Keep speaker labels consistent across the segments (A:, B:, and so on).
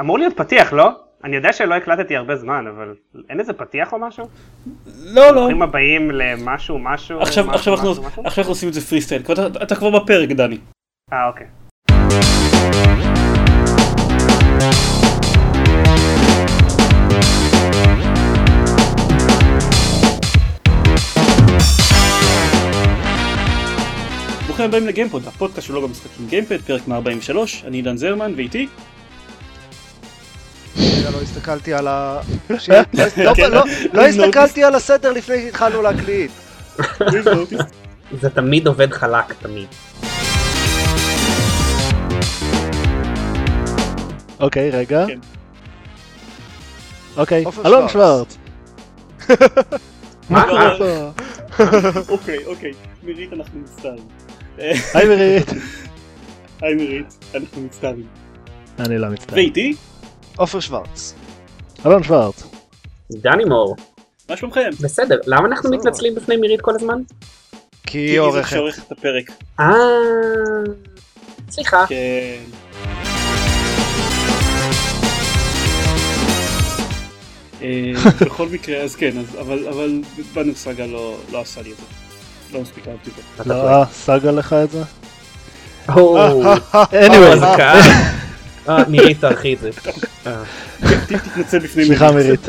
A: אמור להיות פתיח, לא? אני יודע שלא הקלטתי הרבה זמן, אבל אין איזה פתיח או משהו?
B: לא, לא.
A: ברוכים הבאים למשהו, משהו,
B: עכשיו
A: משהו,
B: עכשיו אנחנו
A: משהו, משהו?
B: עכשיו אנחנו עושים את זה פרי סטייל. כבר- אתה- אתה כבר בפרק, דני.
A: אה, אוקיי.
B: ברוכים הבאים לגיימפוד, הפודקאסט שלו גם משחקים גיימפד, פרק 143, אני עידן זרמן ואיתי.
C: רגע, לא הסתכלתי על ה... שיט, לא הס- לא-
D: כן.
C: לא- לא הסתכלתי על הסדר לפני שהתחלנו להקליט.
E: זה תמיד עובד חלק, תמיד.
D: אוקיי, רגע.
B: כן.
D: אוקיי,
C: עופר
D: אלון
C: שוורץ.
D: שוורץ.
E: מה?
B: לא.
D: אה.
E: מה?
B: אוקיי, אוקיי, מירית אנחנו מצטערים.
D: היי מירית.
B: היי מירית, אנחנו מצטערים.
D: אני לא מצטער.
B: ואיתי,
C: עופר שוורץ.
D: אלון שוורץ.
E: דני מור.
B: מה שלומכם?
E: בסדר, למה אנחנו
C: בסדר.
E: מתנצלים בפני מירית כל הזמן?
C: כי היא עורכת.
B: שעורכת את הפרק.
E: אה...
A: לא.
E: סליחה.
B: כן. אה, בכל מקרה, אז כן, אז- אבל- אבל בנו סאגה לא לא עשה לי את זה. לא מספיק אהבתי את זה.
E: אתה
D: לא,
E: טועה.
D: אה, סגה לך את זה?
E: או,
D: אה,
B: אה.
D: anyway.
E: זה כאב. אה, מירית תערכי את זה. אה,
B: תתנצל בפני
D: סליחה מירית.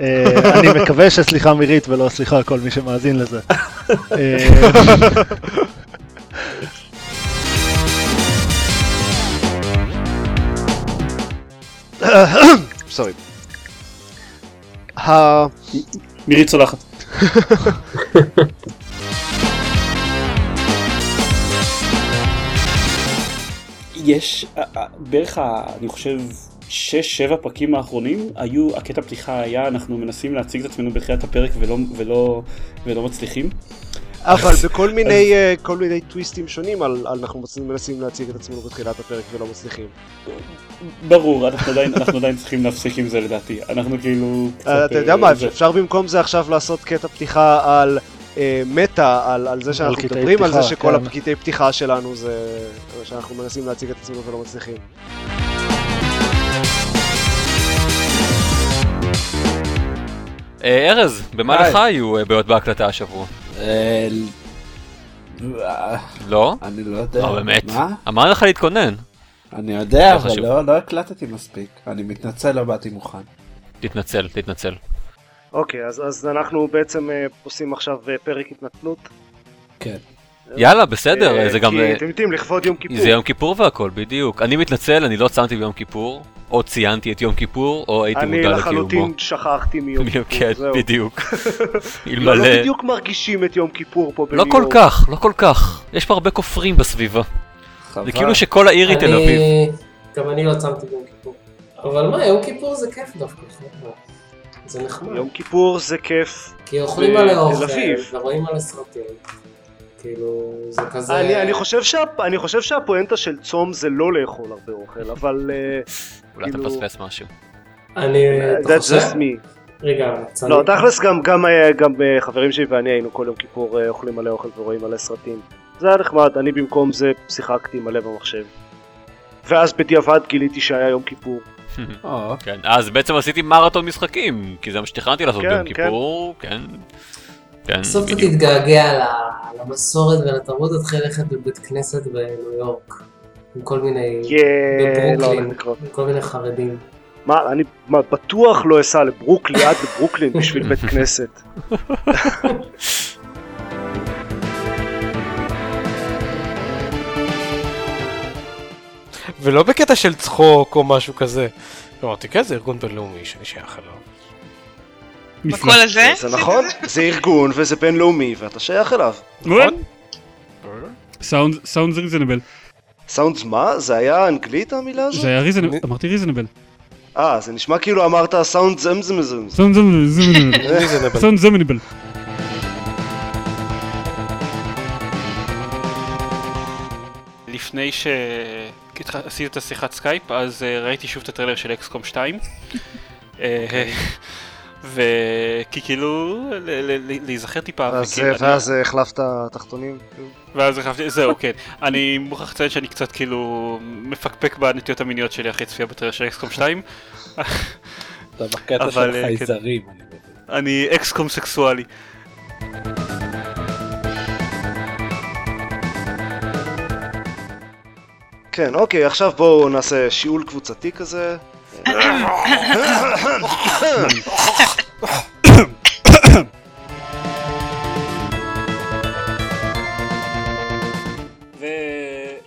D: אה, אני מקווה שסליחה מירית ולא סליחה כל מי שמאזין לזה. אה,
C: סורי. ה-
B: מירית צולחת. יש אה, אה, בערך, ה- אני חושב, שש, שבע פרקים האחרונים, היו, הקטע פתיחה היה, אנחנו מנסים להציג את עצמנו בתחילת הפרק ולא, ולא, ולא מצליחים.
C: אבל בכל מיני אה, כל מיני טוויסטים שונים על על אנחנו מוצ- מנסים להציג את עצמנו בתחילת הפרק ולא מצליחים.
B: ברור, אנחנו עדיין, אנחנו עדיין צריכים להפסיק עם זה לדעתי. אנחנו כאילו... קצת,
C: אה, אתה יודע
B: אה,
C: מה,
B: זה-
C: אפשר במקום זה עכשיו לעשות קטע פתיחה על אה, מטא, על על זה שאנחנו
D: קטעי
C: מדברים על זה
D: פתיחה,
C: שכל
D: כן.
C: הקטעי פתיחה שלנו זה שאנחנו מנסים להציג את עצמנו ולא מצליחים.
F: אה, ארז, במה לך היו אה, בעיות בהקלטה השבוע?
G: אה, אה,
F: לא?
G: אני לא
C: אה,
G: יודע.
F: לא באמת.
G: מה?
F: אמרנו לך להתכונן.
G: אני יודע,
F: לא
G: אבל
F: חשוב.
G: לא- לא הקלטתי מספיק. אני מתנצל, לא באתי מוכן.
F: תתנצל, תתנצל.
C: אוקיי, אז, אז אנחנו בעצם אה, עושים עכשיו אה, פרק התנצלות.
G: כן.
F: יאללה, בסדר,
C: אה,
F: אה, זה גם...
C: כי
F: אה,
C: אתם יודעים, לכבוד יום כיפור.
F: זה יום כיפור והכל, בדיוק. אני מתנצל, אני לא צמתי ביום כיפור, או ציינתי את יום כיפור, או הייתי
C: אני
F: מודע לקיומו.
C: לחלוטין שכחתי מיום
F: בדיוק,
C: כיפור,
F: כן,
C: זהו.
F: בדיוק.
C: לא, לא
F: אלמלא...
C: בדיוק מרגישים את יום כיפור פה בניו
F: לא
C: יורק.
F: כל כך, לא כל כך. יש פה הרבה כופרים בסביבה.
G: חבל.
F: זה כאילו שכל העיר היא
C: אה,
F: תל אביב.
H: אני- גם אני לא צמתי ביום כיפור. אבל מה, יום כיפור זה כיף דווקא. חבר'ה. זה נחמד.
C: יום כיפור זה כיף.
H: כי אוכלים
C: ב-
H: על
C: תל אביב.
H: האוכל ורואים על הסרטים. כאילו, זה כזה...
C: אני, אני, חושב שה, אני חושב שהפואנטה של צום זה לא לאכול הרבה אוכל, אבל אה,
F: אולי אתה
C: כאילו-
F: מפספס משהו.
H: אני... אתה
C: that's
H: חושב?
C: just me.
H: רגע, צמי.
C: לא, תכלס גם, גם, אה, גם אה, חברים שלי ואני היינו כל יום כיפור אה, אוכלים מלא אוכל ורואים מלא סרטים. זה היה נחמד, אני במקום זה שיחקתי מלא במחשב. ואז בדיעבד גיליתי שהיה יום כיפור.
G: או,
F: כן, אז בעצם עשיתי מרתון משחקים, כי זה מה שתכננתי לעשות
C: כן,
F: ביום
C: כן.
F: כיפור, כן. כן,
H: בסוף אתה
F: בדיוק.
H: תתגעגע ל- למסורת ולתרבות, תתחיל ללכת לבית כנסת בניו יורק. עם כל מיני...
C: כן. יאה, לא
H: בברוקלין.
C: הולך לקרות.
H: עם כל מיני חרדים.
C: מה, אני מה, בטוח לא אסע לברוקלי עד לברוקלין בשביל בית כנסת.
I: ולא בקטע של צחוק או משהו כזה. כלומר, תקרא זה ארגון בינלאומי שאני שייך אליו.
J: בקול הזה?
C: זה נכון, זה ארגון וזה בינלאומי ואתה שייך אליו.
I: נכון?
B: סאונד ריזנבל.
C: סאונדס מה? זה היה אנגלית המילה הזאת?
B: היה
I: reasonable,
B: אמרתי ריזנבל.
C: אה, זה נשמע כאילו אמרת סאונדס אמזמזמס.
B: סאונד זמנבל.
I: ריזונבל.
B: סאונד זמנבל.
K: לפני שעשיתי את
C: אוקיי.
K: השיחת סקייפ, אז אה, ראיתי שוב את הטריילר של אקסקום 2. אה, וכי כאילו ל- ל- ל- להיזכר טיפה.
C: אז,
B: כן,
K: וכי אני-
C: ואז אה, החלפת תחתונים?
K: ואז החלפתי, זהו, כן. אני מוכרח לציין שאני קצת כאילו מפקפק בנטיות המיניות שלי אחרי צפייה בטריה של אקסקום 2.
G: אתה בקטע
K: אבל,
G: של
K: אה, כן.
G: חייזרים, אני
K: אני אקסקום סקסואלי.
C: כן, אוקיי, עכשיו בואו נעשה שיעול קבוצתי כזה.
K: ו... אה,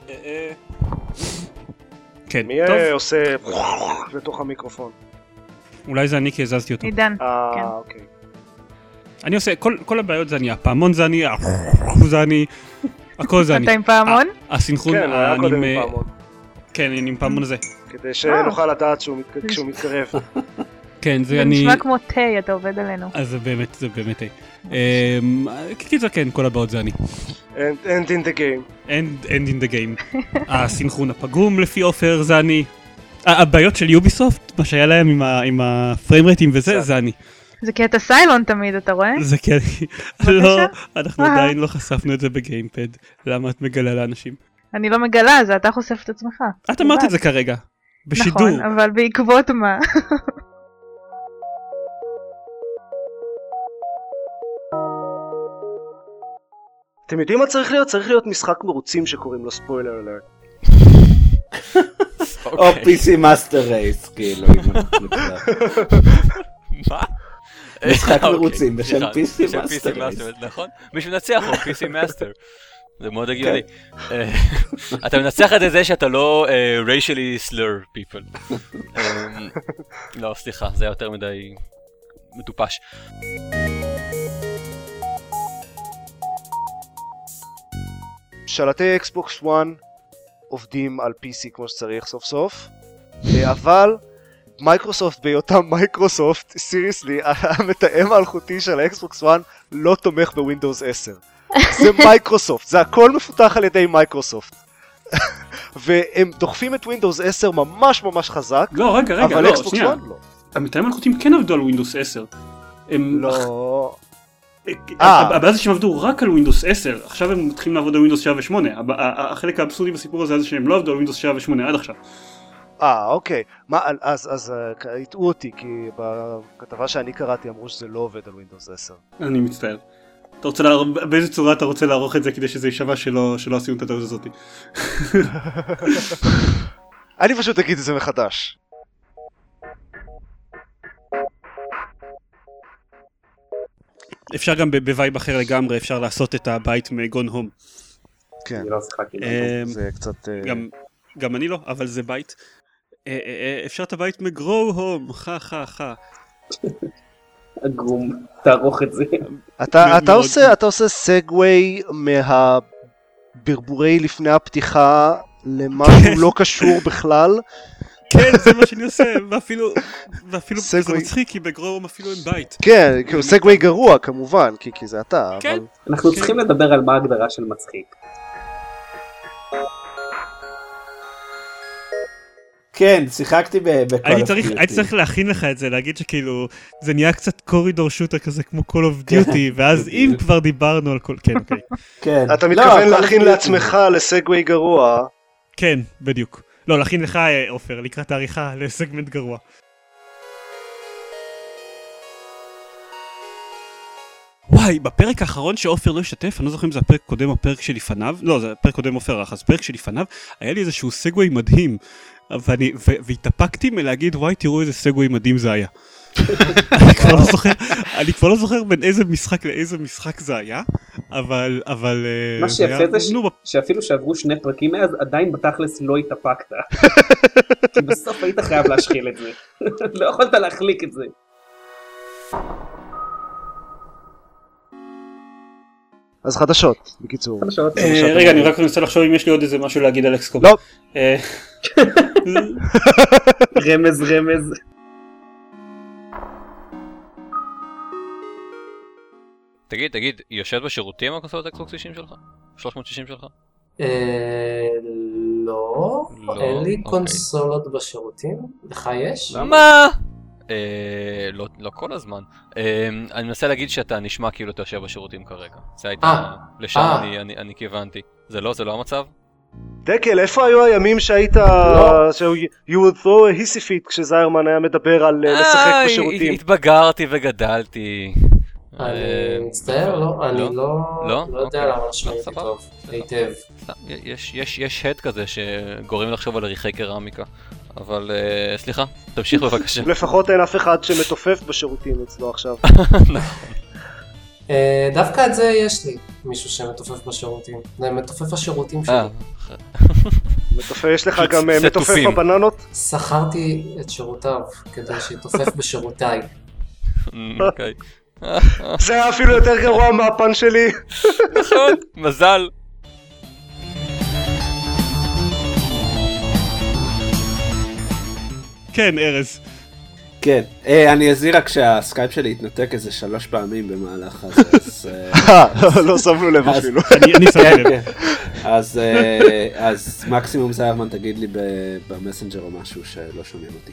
K: אה,
B: כן,
L: מי
B: טוב.
L: אה, עושה לתוך המיקרופון?
B: אולי זה אני כי הזזתי אותו.
M: עידן.
L: אה,
M: כן.
L: אוקיי.
B: אני עושה, כל, כל הבעיות זה אני, הפעמון זה אני, זה אני, הכל זה אני. אה,
M: אתה עם פעמון?
B: ה- הסינכרון,
L: כן, היה
B: אני
L: קודם
B: עם,
L: עם
B: אה,
L: פעמון.
B: כן, אני עם פעמון הזה.
L: כדי שנוכל לדעת שהוא מת- כשהוא מתקרב.
B: כן, זה
M: זה
B: אני...
M: נשמע כמו תה, אתה עובד עלינו.
B: אז זה באמת, זה באמת... אה. אמ, קיצר כן, כל הבעיות זה אני.
L: And and in the game.
B: End, end in the game. הסינכרון הפגום לפי עופר זה אני. ה- הבעיות של יוביסופט, מה שהיה להם עם ה- עם הפריימרייטים וזה, זה
M: כן?
B: אני.
M: זה כי אתה סיילון תמיד, אתה רואה?
B: זה כן, לא, אנחנו
M: אהה.
B: עדיין לא חשפנו את זה בגיימפד. למה את מגלה לאנשים?
M: אני לא מגלה, זה אתה חושף את עצמך.
B: את אמרת
M: לבד.
B: את זה כרגע, בשידור.
M: נכון, אבל בעקבות מה?
L: אתם יודעים מה צריך להיות? צריך להיות משחק מרוצים שקוראים לו ספוילר אלרט.
F: אוקיי.
G: או PC מאסטר רייס, כאילו, אם אנחנו נקרא.
F: מה?
G: משחק
F: אוקיי,
G: מרוצים בשם
F: סליחה,
G: PC
F: בשם
G: Master
F: PC Master
G: Race.
F: Race, נכון? מישהו מנצח הוא PC מאסטר. זה מאוד הגיוני.
G: כן.
F: אה, אתה מנצח את זה שאתה לא אה, racially slur people. אה, לא, סליחה, זה היה יותר מדי מטופש.
C: שלטי אקסבוקס 1 עובדים על PC כמו שצריך סוף סוף, אה, אבל מייקרוסופט בהיותה מייקרוסופט, סיריסלי, המתאם האלחוטי של האקסבוקס 1 לא תומך בווינדוס 10. זה מייקרוסופט, זה הכל מפותח על ידי מייקרוסופט. והם דוחפים את ווינדוס 10 ממש ממש חזק,
B: לא, רגע, רגע,
C: אבל
B: לא,
C: אקסבוקס
B: שנייה.
C: 1 לא.
B: המתארים מלאכותיים כן עבדו על ווינדוס 10. הם...
C: לא...
B: אה. הבעיה זה שהם עבדו רק על ווינדוס 10, עכשיו הם מתחילים לעבוד על ווינדוס 7 ו-8. החלק האבסורדי בסיפור הזה זה שהם לא עבדו על ווינדוס 7 ו-8 עד עכשיו.
C: אה, אוקיי. מה, אז, אז אה, כ- הטעו אותי, כי בכתבה שאני קראתי אמרו שזה לא עובד על ווינדוס 10.
B: אני מצטער. אתה רוצה לערוך, באיזה צורה אתה רוצה לערוך את זה כדי שזה יישמע שלא שלא עשינו את הטעות הזאתי.
C: אני פשוט אגיד את זה מחדש.
B: אפשר גם ב- בווייב אחר לגמרי, אפשר לעשות את הבית מגון הום.
C: כן.
B: אני
C: לא
A: שיחקתי
B: אה,
C: בגון הום, זה קצת, אה,
B: גם, גם אני לא, אבל זה בית. אה, אה, אה, אפשר את הבית מגרו הום, חה חה חה.
E: עגום, תערוך את זה.
C: אתה, אתה, עושה, אתה עושה סגווי מהברבורי לפני הפתיחה למשהו לא קשור בכלל.
B: כן, זה מה שאני עושה, ואפילו, ואפילו זה
C: סגווי.
B: מצחיק, כי בגרו הום אפילו אין בית.
C: כן, כאילו, סגווי גרוע כמובן, כי, כי זה אתה, אבל...
E: אנחנו צריכים לדבר על מה ההגדרה של מצחיק.
G: כן, שיחקתי ב- בכל...
B: הייתי צריך,
G: הפעילות.
B: הייתי צריך להכין לך את זה, להגיד שכאילו, זה נהיה קצת קורידור שוטר כזה כמו Call of Duty, ואז אם כבר דיברנו על כל... כן, אוקיי.
G: כן.
K: אה.
C: אתה
B: לא,
C: מתכוון
B: הכל
C: להכין
B: מדויק.
C: לעצמך לסגווי גרוע.
B: כן, בדיוק. לא, להכין לך, אה, עופר, לקראת העריכה לסגמנט גרוע. וואי, בפרק האחרון שעופר לא השתתף, אני לא זוכר אם זה הפרק קודם או הפרק שלפניו, לא, זה הפרק קודם עופר ערך, אז פרק שלפניו, היה לי איזשהו סגווי מדהים, ואני, ו- והתאפקתי מלהגיד, וואי, תראו איזה סגווי מדהים זה היה. אני כבר לא זוכר, אני כבר לא זוכר בין איזה משחק לאיזה משחק זה היה, אבל, אבל... אה,
E: מה
B: היה-
E: שיפה זה ש- שאפילו שעברו שני פרקים מאז, עדיין בתכלס לא התאפקת. כי בסוף היית חייב להשחיל את זה. לא יכולת להחליק את זה.
C: אז חדשות, בקיצור.
E: חדשות.
B: אה, רגע, אני רק מנסה לחשוב אם יש לי עוד איזה משהו להגיד על אה, אקסקום.
C: לא.
E: רמז רמז.
F: תגיד, תגיד, היא יושבת בשירותים הקונסולת אקסבוקס 90 שלך? 360 שלך?
H: אה, לא,
F: לא,
H: אין לי
F: אוקיי.
H: קונסולות בשירותים. לך יש?
F: מה? אה, לא, לא כל הזמן. אה, אני מנסה להגיד שאתה נשמע כאילו אתה יושב בשירותים כרגע. זה
C: אה,
F: הייתה... לשם
C: אה.
F: אני, אני, אני כיוונתי. זה לא, זה לא המצב?
C: דקל, איפה היו הימים שהיית... שהוא- you would throw a hissy fit כשזיירמן היה מדבר על אה, לשחק
F: אה,
C: בשירותים?
F: הת- התבגרתי וגדלתי.
H: אני
F: אה,
H: מצטער, לא, אני לא-
F: לא
H: לא יודע
F: אוקיי.
H: למה לא שמעתי
F: סבבה,
H: טוב,
F: סבבה.
H: היטב.
F: סתם, יש- יש- יש הד כזה שגורם לחשוב על ריחי קרמיקה. אבל אה, סליחה, תמשיך בבקשה.
I: כן.
C: לפחות אין אף אחד שמתופף בשירותים אצלו עכשיו.
H: אה, דווקא את זה יש לי, מישהו שמתופף בשירותים. זה מתופף
F: אה.
H: השירותים שלי.
C: מתופף- יש לך גם אה, מתופף
F: סטופים.
C: בבננות?
H: שכרתי את שירותיו כדי שיתופף בשירותיי.
F: אוקיי.
I: אה.
C: זה היה אפילו יותר גרוע מהפן שלי.
F: נכון. מזל.
B: כן, ארז.
G: כן, אה, אני אזהיר רק שהסקייפ שלי התנתק איזה שלוש פעמים במהלך הזה, אז...
C: אה, לא שמנו לב
G: אז-
C: אפילו.
G: כן,
C: אני שמתי לב.
G: כן. אז, אה, אז מקסימום זיירמן תגיד לי ב- במסנג'ר או משהו שלא שומעים אותי.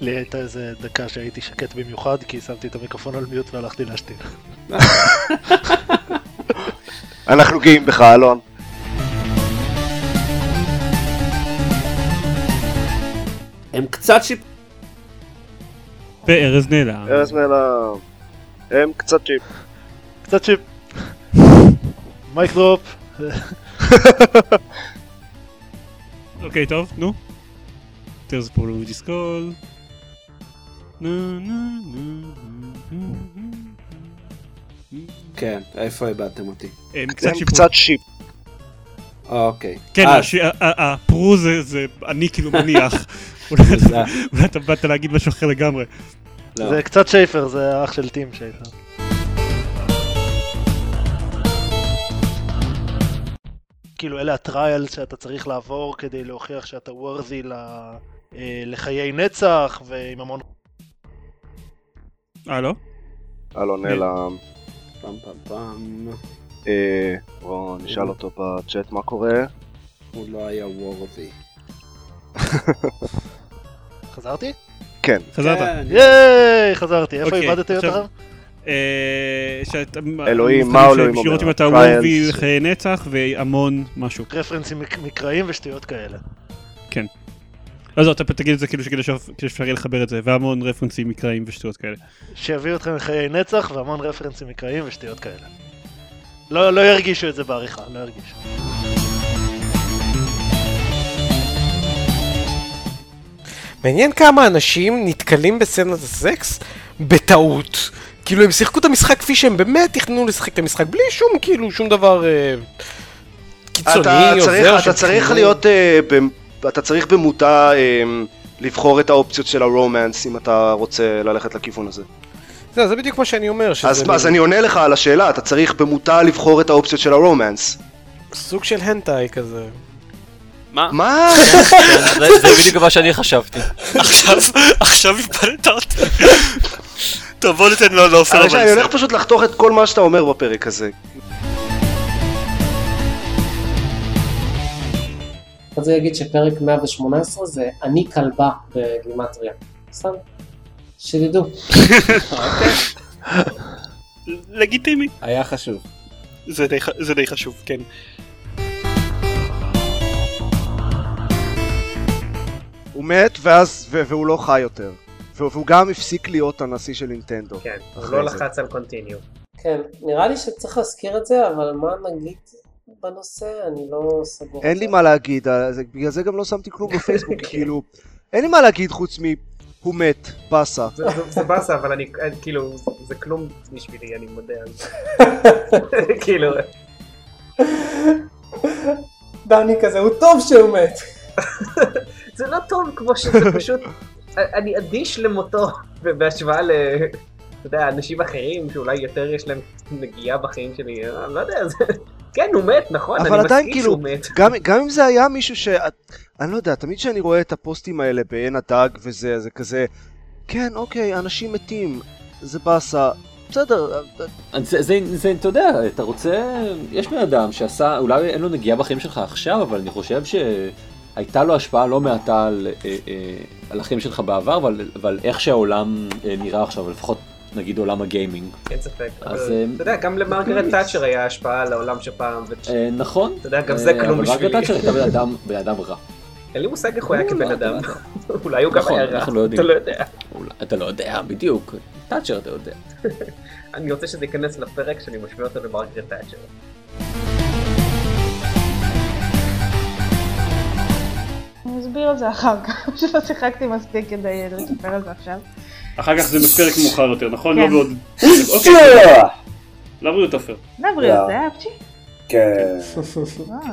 D: לי הייתה איזה דקה שהייתי שקט במיוחד, כי שמתי את המיקרופון על מיוט והלכתי להשתין.
C: אנחנו גאים בך, אלון.
G: הם קצת שיפ...
B: וארז נעלם.
C: ארז נעלם. הם קצת צ'יפ. קצת צ'יפ.
D: מייק דרופ.
B: אוקיי, טוב, נו. There's a problem with this call. נו, נו, נו, נו, נו.
G: כן, איפה איבדתם אותי?
B: הם קצת הם שיפור. קצת
C: שיפ.
G: אוקיי.
B: כן,
G: אה,
B: הש- ה- ה- הפרו זה- זה אני כאילו מניח. אולי אתה-
G: תודה.
B: אולי אתה באת להגיד משהו אחר לגמרי.
D: זה קצת שייפר, זה האח של טים שייפר. כאילו אלה הטרייל שאתה צריך לעבור כדי להוכיח שאתה וורזי ל... אה, לחיי נצח ועם המון...
B: הלו?
C: אלון נעלם.
G: פעם פעם פעם.
C: אה, בואו נשאל אותו בצ'אט מה קורה.
G: הוא לא היה וורדי.
D: חזרתי?
C: כן.
B: חזרת.
D: ייי, חזרתי. איפה
B: אוקיי,
D: איבדתם
B: עכשיו-
D: אותם?
B: אה, שאתה-
C: אלוהים, מה
B: מבחנים
C: אלוהים
B: שהם שירות אם
C: אומר?
B: אתה
C: Trials.
B: וורבי, חיי נצח והמון משהו.
D: רפרנסים מק- מקראיים ושטויות כאלה.
B: כן. לא, זו, אתה פ- תגיד את זה כאילו שכדי שאפ- כדי שאפשר יהיה לחבר את זה, והמון רפרנסים מקראיים ושטויות כאלה.
D: שיביאו אתכם לחיי נצח והמון רפרנסים מקראיים ושטויות כאלה. לא, לא ירגישו את זה בעריכה, לא ירגישו.
I: מעניין כמה אנשים נתקלים בסצנת הסקס בטעות. כאילו הם שיחקו את המשחק כפי שהם באמת תכננו לשחק את המשחק, בלי שום כאילו שום דבר אה, קיצוני
C: אתה
I: עוזר.
C: צריך- אתה
I: שהם
C: צריך
I: תכננו.
C: להיות... אה, ב- אתה צריך במודע אה, לבחור את האופציות של הרומנס אם אתה רוצה ללכת לכיוון הזה.
I: זהו, זה בדיוק מה שאני אומר. שזה
C: אז
I: מין
C: אז אני עונה לך על השאלה, אתה צריך במודע לבחור את האופציות של הרומנס.
I: סוג של הנטאי כזה.
K: מה?
C: מה?
F: כן, זה- זה בדיוק מה שאני חשבתי.
K: עכשיו, עכשיו הפלת אותי. טוב, בוא ניתן לו לא לעופר
C: אבל אני הולך פשוט לחתוך את כל מה שאתה אומר בפרק הזה.
H: אז אני אגיד שפרק 118 זה אני כלבה בגימטריה. סתם, שתדעו.
K: לגיטימי.
G: היה חשוב.
K: זה די, ח- זה די חשוב, כן.
C: הוא מת, ואז, ו- והוא לא חי יותר. והוא והוא גם הפסיק להיות הנשיא של נינטנדו.
E: כן, הוא
C: אחרי
E: לא
C: זה.
E: לחץ על קונטיניו.
H: כן, נראה לי שצריך להזכיר את זה, אבל מה נגיד בנושא? אני לא סגור.
C: אין לי מה להגיד, אה, זה- בגלל זה גם לא שמתי כלום בפייסבוק, כאילו... אין לי מה להגיד חוץ מ... הוא מת, באסה.
E: זה- זה- זה באסה, אבל אני, אני- כאילו, זה- זה כלום בשבילי, אני מודה על זה. כאילו,
H: דני כזה, הוא טוב שהוא מת.
E: זה לא טוב כמו שזה פשוט, אני אדיש למותו בהשוואה ל... אתה יודע, אנשים אחרים שאולי יותר יש להם נגיעה בחיים שלי, אני לא יודע, זה... כן, הוא מת, נכון, אני
C: אבל עדיין
E: מסכים
C: כאילו,
E: שהוא מת.
C: גם, גם אם זה היה מישהו ש... אני לא יודע, תמיד כשאני רואה את הפוסטים האלה בעין הדג וזה, זה כזה... כן, אוקיי, אנשים מתים, זה באסה. בסדר, אה,
N: אז זה, זה, זה, אתה יודע, אתה רוצה... יש בן אדם שעשה, אולי אין לו נגיעה בחיים שלך עכשיו, אבל אני חושב ש... הייתה לו השפעה לא מעטה על, אה, אה, על החיים שלך בעבר ועל, ועל איך שהעולם אה, נראה עכשיו, לפחות נגיד עולם הגיימינג.
E: אין ספק.
N: אז,
E: אבל,
N: אה,
E: אתה יודע, גם למרגרט תאצ'ר היה השפעה על העולם של פעם. ו-
N: אה, נכון.
E: אתה יודע, גם זה
N: אה,
E: כלום
N: אבל
E: בשבילי.
N: רק אתה שאתה בן אדם, בן אדם רע.
E: אין לי מושג איך הוא היה כבן אדם. אולי הוא גם
N: נכון,
E: היה רע.
N: אנחנו לא יודעים.
E: אתה לא יודע.
N: אולי- אתה לא יודע, בדיוק. תאצ'ר אתה יודע.
E: אני רוצה שזה ייכנס לפרק שאני משווה אותו למרגרט תאצ'ר.
M: אני אסביר על זה אחר כך, שלא שיחקתי מספיק כדי לספר על זה עכשיו.
O: אחר כך זה בפרק מאוחר יותר, נכון? לא
M: כן.
O: בעוד... אוקיי. לבריאות עופר.
B: לא.
M: לבריאות, זה היה פצ'י.
P: כן.
M: אה.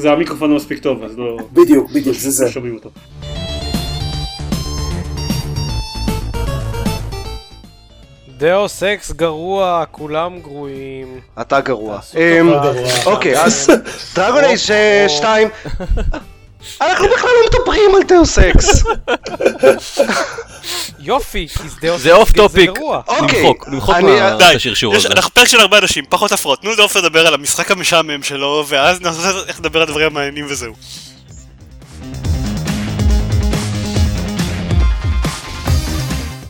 O: זה המיקרופון לא מספיק טוב, אז לא...
P: בדיוק, בדיוק, זה זה.
O: לא שומעים אותו.
I: דאו סקס גרוע, כולם גרועים.
C: אתה גרוע.
I: אמ,
C: אוקיי, אז דרגון אייז 2, אה, אנחנו בכלל לא מדברים על דאוס אקס.
I: יופי, כי זה דאו סקס
F: זה אוף טופיק.
I: גרוע.
F: למחוק, למחוק מה- אה, את השרשור
K: יש-
F: הזה.
K: אנחנו פרק של הרבה אנשים, פחות הפרעות. תנו לעופר לדבר על המשחק המשעמם שלו, ואז נעשה איך לדבר על דברים המעניינים וזהו.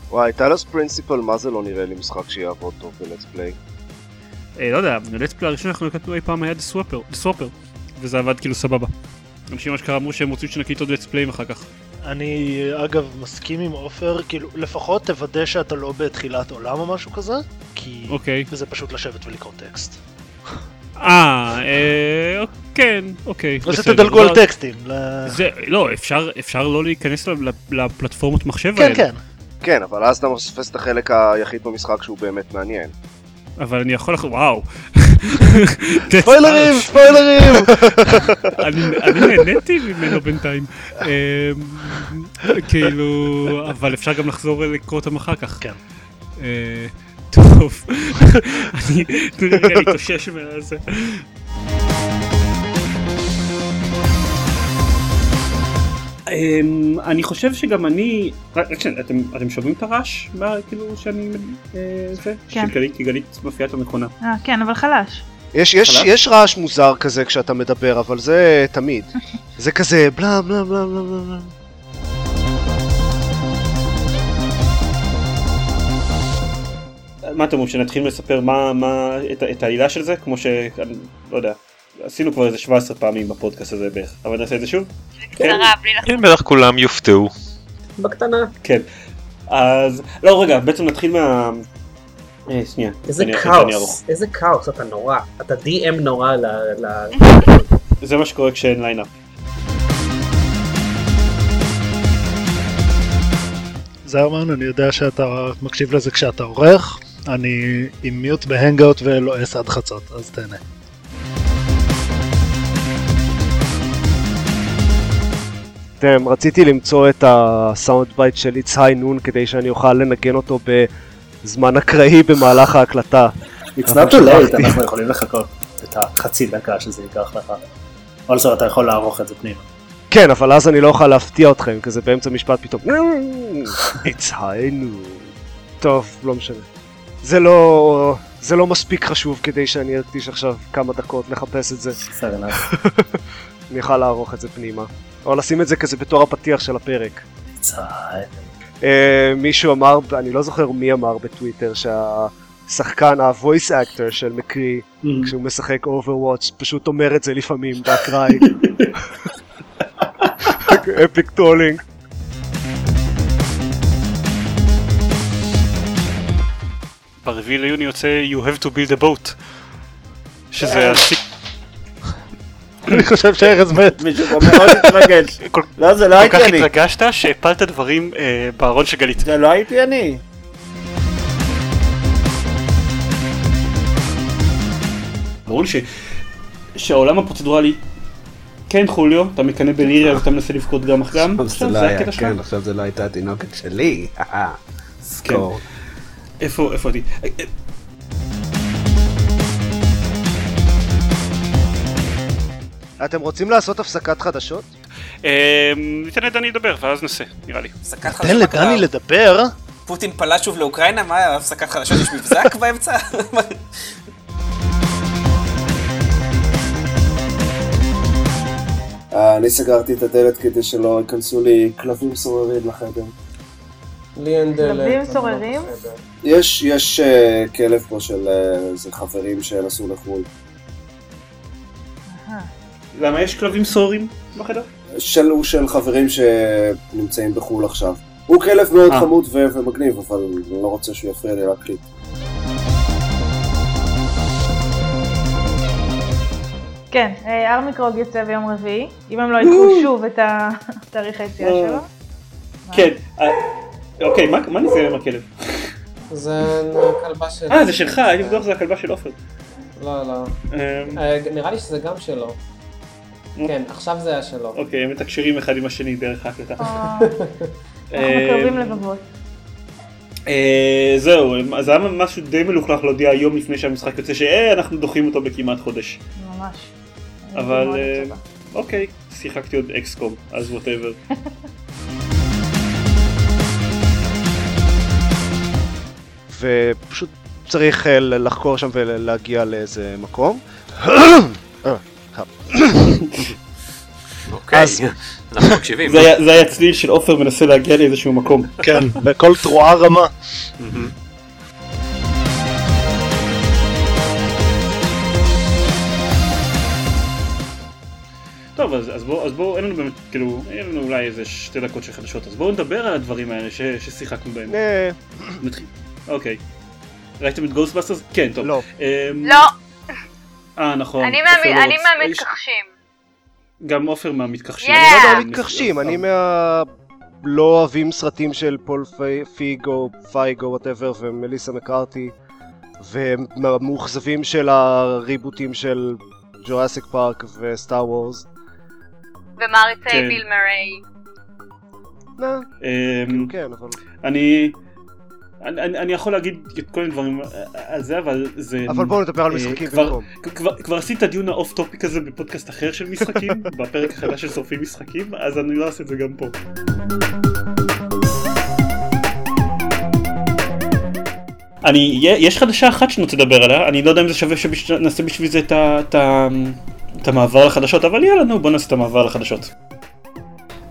C: וואי, טלוס פרינסיפל, מה זה לא נראה לי משחק שיעבוד טוב בלטס פליי?
B: אה, לא יודע, בלטספלי הראשון אנחנו הקלטנו אי פעם היה דה סוואפר, דה סוואפר, וזה עבד כאילו סבבה. אנשים אשכרה אמרו שהם רוצים שנקליט עוד לטספליים אחר כך.
D: אני אגב מסכים עם עופר, כאילו לפחות תוודא שאתה לא בתחילת עולם או משהו כזה, כי
B: אוקיי.
D: זה פשוט לשבת ולקרוא טקסט.
B: אה, אה, כן, אוקיי.
D: אז
B: בסדר.
D: תדלגו על
B: לא-
D: טקסטים, ל-
B: זה, לא, אפשר, אפשר לא להיכנס ל- ל- לפלטפורמות מחשב
C: כן,
B: האלה.
C: כן. כן, אבל אז אתה מפספס את החלק היחיד במשחק שהוא באמת מעניין.
B: אבל אני יכול לך, וואו.
C: ספוילרים, ספוילרים!
B: אני- אני נהניתי ממנו בינתיים. אמ, כאילו, אבל אפשר גם לחזור לקרוא אותם אחר כך. אה,
D: כן.
B: טוב, אני תנו לי רגע להתאושש מהזה. אמ, אני חושב שגם אני, רק רק שנייה, אתם אתם שומעים את הרעש? מה, כאילו שאני, אה, זה?
M: כן.
B: שגלית- כי גלית מפעילה את המכונה.
M: אה, כן, אבל חלש.
C: יש, יש,
B: חלש?
C: יש רעש מוזר כזה כשאתה מדבר, אבל זה תמיד. זה כזה בלה בלה בלה בלה בלה בלה.
O: מה אתם אומרים, שנתחיל לספר מה, מה, את, ה- את העלילה של זה? כמו ש... אני לא יודע. עשינו כבר איזה 17 פעמים בפודקאסט הזה בערך, אבל נעשה את זה שוב?
Q: כן, בטח כולם יופתעו.
E: בקטנה.
O: כן. אז, לא רגע, בעצם נתחיל מה... אה, שנייה.
E: איזה
O: אני- אני ארוך.
E: כאוס, איזה כאוס, אתה נורא. אתה DM נורא ל... ל-
O: זה מה שקורה כשאין ליינאפ.
D: זה אמן, אני יודע שאתה מקשיב לזה כשאתה עורך, אני עם מיוט בהנגאוט ולועס עד חצות, אז תהנה.
C: אתם, רציתי למצוא את הסאונד בייט של It's High Noon כדי שאני אוכל לנגן אותו בזמן אקראי במהלך ההקלטה.
R: It's
C: אבל
R: not too late,
C: שכחתי.
R: אנחנו יכולים לחכות את החצי דקה שזה ייקח לך. אולסו אתה יכול לערוך את זה פנימה.
C: כן, אבל אז אני לא אוכל להפתיע אתכם, כזה באמצע משפט פתאום. It's High Noon. טוב, לא משנה. זה לא... זה לא מספיק חשוב כדי שאני אקדיש עכשיו כמה דקות לחפש את זה. אני אוכל לערוך את זה פנימה. או לשים את זה כזה בתור הפתיח של הפרק. אה, מישהו אמר, אני לא זוכר מי אמר בטוויטר, שהשחקן, ה-voice actor של מקרי, כשהוא משחק Overwatch, פשוט אומר את זה לפעמים באקראי. אפיק טולינג.
B: ברביעי ליוני יוצא You have to build a boat. שזה הסיק...
K: אני חושב שארז מת.
B: מישהו
K: פה מאוד
B: התרגש.
R: לא, זה לא הייתי
K: כל
R: אני.
K: כך התרגשת שהפלת דברים אה, בארון של גלית.
R: זה לא הייתי אני.
O: ברור לי ש... שהעולם הפרוצדורלי... כן חוליו, אתה מקנא בליריה ואתה מנסה לבכות גם אך גם.
G: זה
O: עכשיו
G: לא
O: זה
G: היה,
O: הקטע שלך. כן.
G: כן, עכשיו זה לא הייתה התינוקת שלי. אהה, סקור.
O: איפה, איפה אותי?
B: אה,
C: אתם רוצים לעשות הפסקת חדשות?
B: אה, ניתן לדני לדבר ואז נעשה, נראה לי.
K: תן לדני לדבר.
S: פוטין פלש שוב לאוקראינה? מה, הפסקת חדשות יש מבזק באמצע?
C: אה, אני סגרתי את הדלת כדי שלא ייכנסו לי כלבים סוררים לחדר.
T: לי אין
M: כלבים
H: לא
M: סוררים?
C: יש, יש אה, כלב פה של אה, איזה חברים שנסעו לחו"ל.
B: למה יש כלבים סוהרים בחדר?
C: של, הוא של חברים שנמצאים בחו"ל עכשיו. הוא כלב מאוד
B: אה.
C: חמוד ו- ומגניב, אבל אני לא רוצה שהוא יפריע לי להקליט.
M: כן, אה, ארמיקרוג יוצא ביום רביעי, אם הם לא ידחו שוב את ה- תאריך היציאה
B: אה.
M: שלו.
B: כן. אה, אוקיי, מה מה ניסיון עם הכלב?
H: זה הכלבה שלי.
B: אה, זה שלך, הייתי בטוח שזה הכלבה של עופר.
H: לא, לא. אה, נראה לי שזה גם שלו.
R: אוקיי.
H: כן, עכשיו זה היה שלו.
B: אוקיי, הם מתקשרים אחד עם השני דרך ההקלטה.
M: אנחנו מקרבים לבבות.
B: אה, זהו, אז היה משהו די מלוכלך להודיע יום לפני שהמשחק יוצא, שאה, אנחנו דוחים אותו בכמעט חודש.
M: ממש.
B: אבל אה, אוקיי, שיחקתי עוד אקסקום, אז ווטאבר.
D: ופשוט צריך אה, ל- לחקור שם ולהגיע לאיזה מקום.
U: אוקיי, אנחנו מקשיבים.
B: זה היה- זה היה צליל של עופר מנסה להגיע לאיזשהו מקום.
V: כן, בקול תרועה רמה.
B: טוב, אז, אז בואו, אז בואו, אין לנו באמת, כאילו, אין לנו אולי איזה שתי דקות של חדשות, אז בואו נדבר על הדברים האלה ש, ששיחקנו בהם.
D: אה.
B: נתחיל. אוקיי. ראיתם את גוסטבאסטרס? כן, טוב.
D: לא.
W: לא,
B: אה, נכון.
W: אני
B: עופר
W: מהמ-
B: לא
W: אני
B: רוצה-
D: אה,
W: מהמתכחשים.
B: גם עופר מהמתכחשים.
W: Yeah. אני לא יודע,
D: מתכחשים, אני מה... לא אוהבים סרטים של פול פי- פיגו, פייגו, וואטאבר, ומליסה מקארתי, ומאוכזבים של הריבוטים של ג'וראסיק פארק וסטאר וורס.
W: ומעריצי
B: כן.
W: אה, ביל מריי.
V: Mm.
B: אמ,
D: כן, אבל...
B: אני... אני, אני, אני יכול להגיד את כל הדברים על זה, אבל זה...
D: אבל בואו נדבר על
B: אה,
D: משחקים
B: כבר-
D: במקום.
B: כבר, כבר עשיתי את הדיון האוף טופיק הזה בפודקאסט אחר של משחקים, בפרק החדש של שורפים משחקים, אז אני לא אעשה את זה גם פה. אני, יש חדשה אחת שאני רוצה לדבר עליה, אני לא יודע אם זה שווה שנעשה בשביל זה את ה- את ה- את המעבר לחדשות, אבל יאללה נו בוא נעשה את המעבר לחדשות.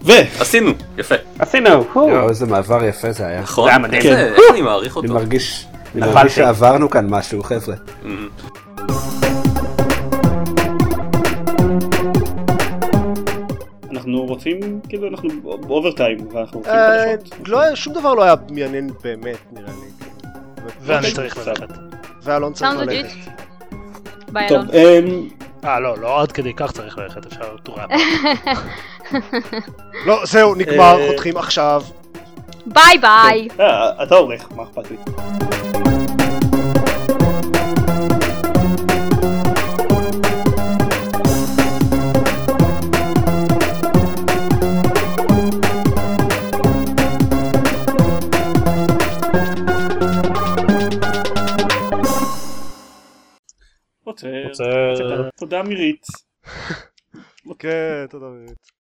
B: ו...
F: עשינו, יפה.
E: עשינו,
G: יואו, איזה מעבר יפה זה היה.
F: נכון. זה
E: כן.
N: כן.
F: היה מדהים. איזה- איך אני מעריך אותו.
G: אני מרגיש, אני
F: נפלתי.
G: מרגיש שעברנו כאן משהו, חבר'ה.
B: אנחנו רוצים, כאילו אנחנו אוברטיים, ואנחנו רוצים
D: אה,
B: חדשות.
D: לא היה- שום דבר לא היה מעניין באמת, נראה לי. אוקיי.
V: ואני צריך ללכת.
D: ואלון צריך
V: Sounds
D: ללכת.
M: אה,
W: ביי,
B: טוב,
M: לא.
W: אלון.
B: אמ...
V: אה, לא, לא עד כדי כך צריך ללכת, אפשר תורה.
D: לא, זהו, נגמר,
B: אה,
D: חותכים עכשיו.
W: ביי ביי.
B: אה, אתה עורך, מה אכפת לי? עוצר.
V: עוצר.
B: תודה מירית.
D: כן, תודה באמת.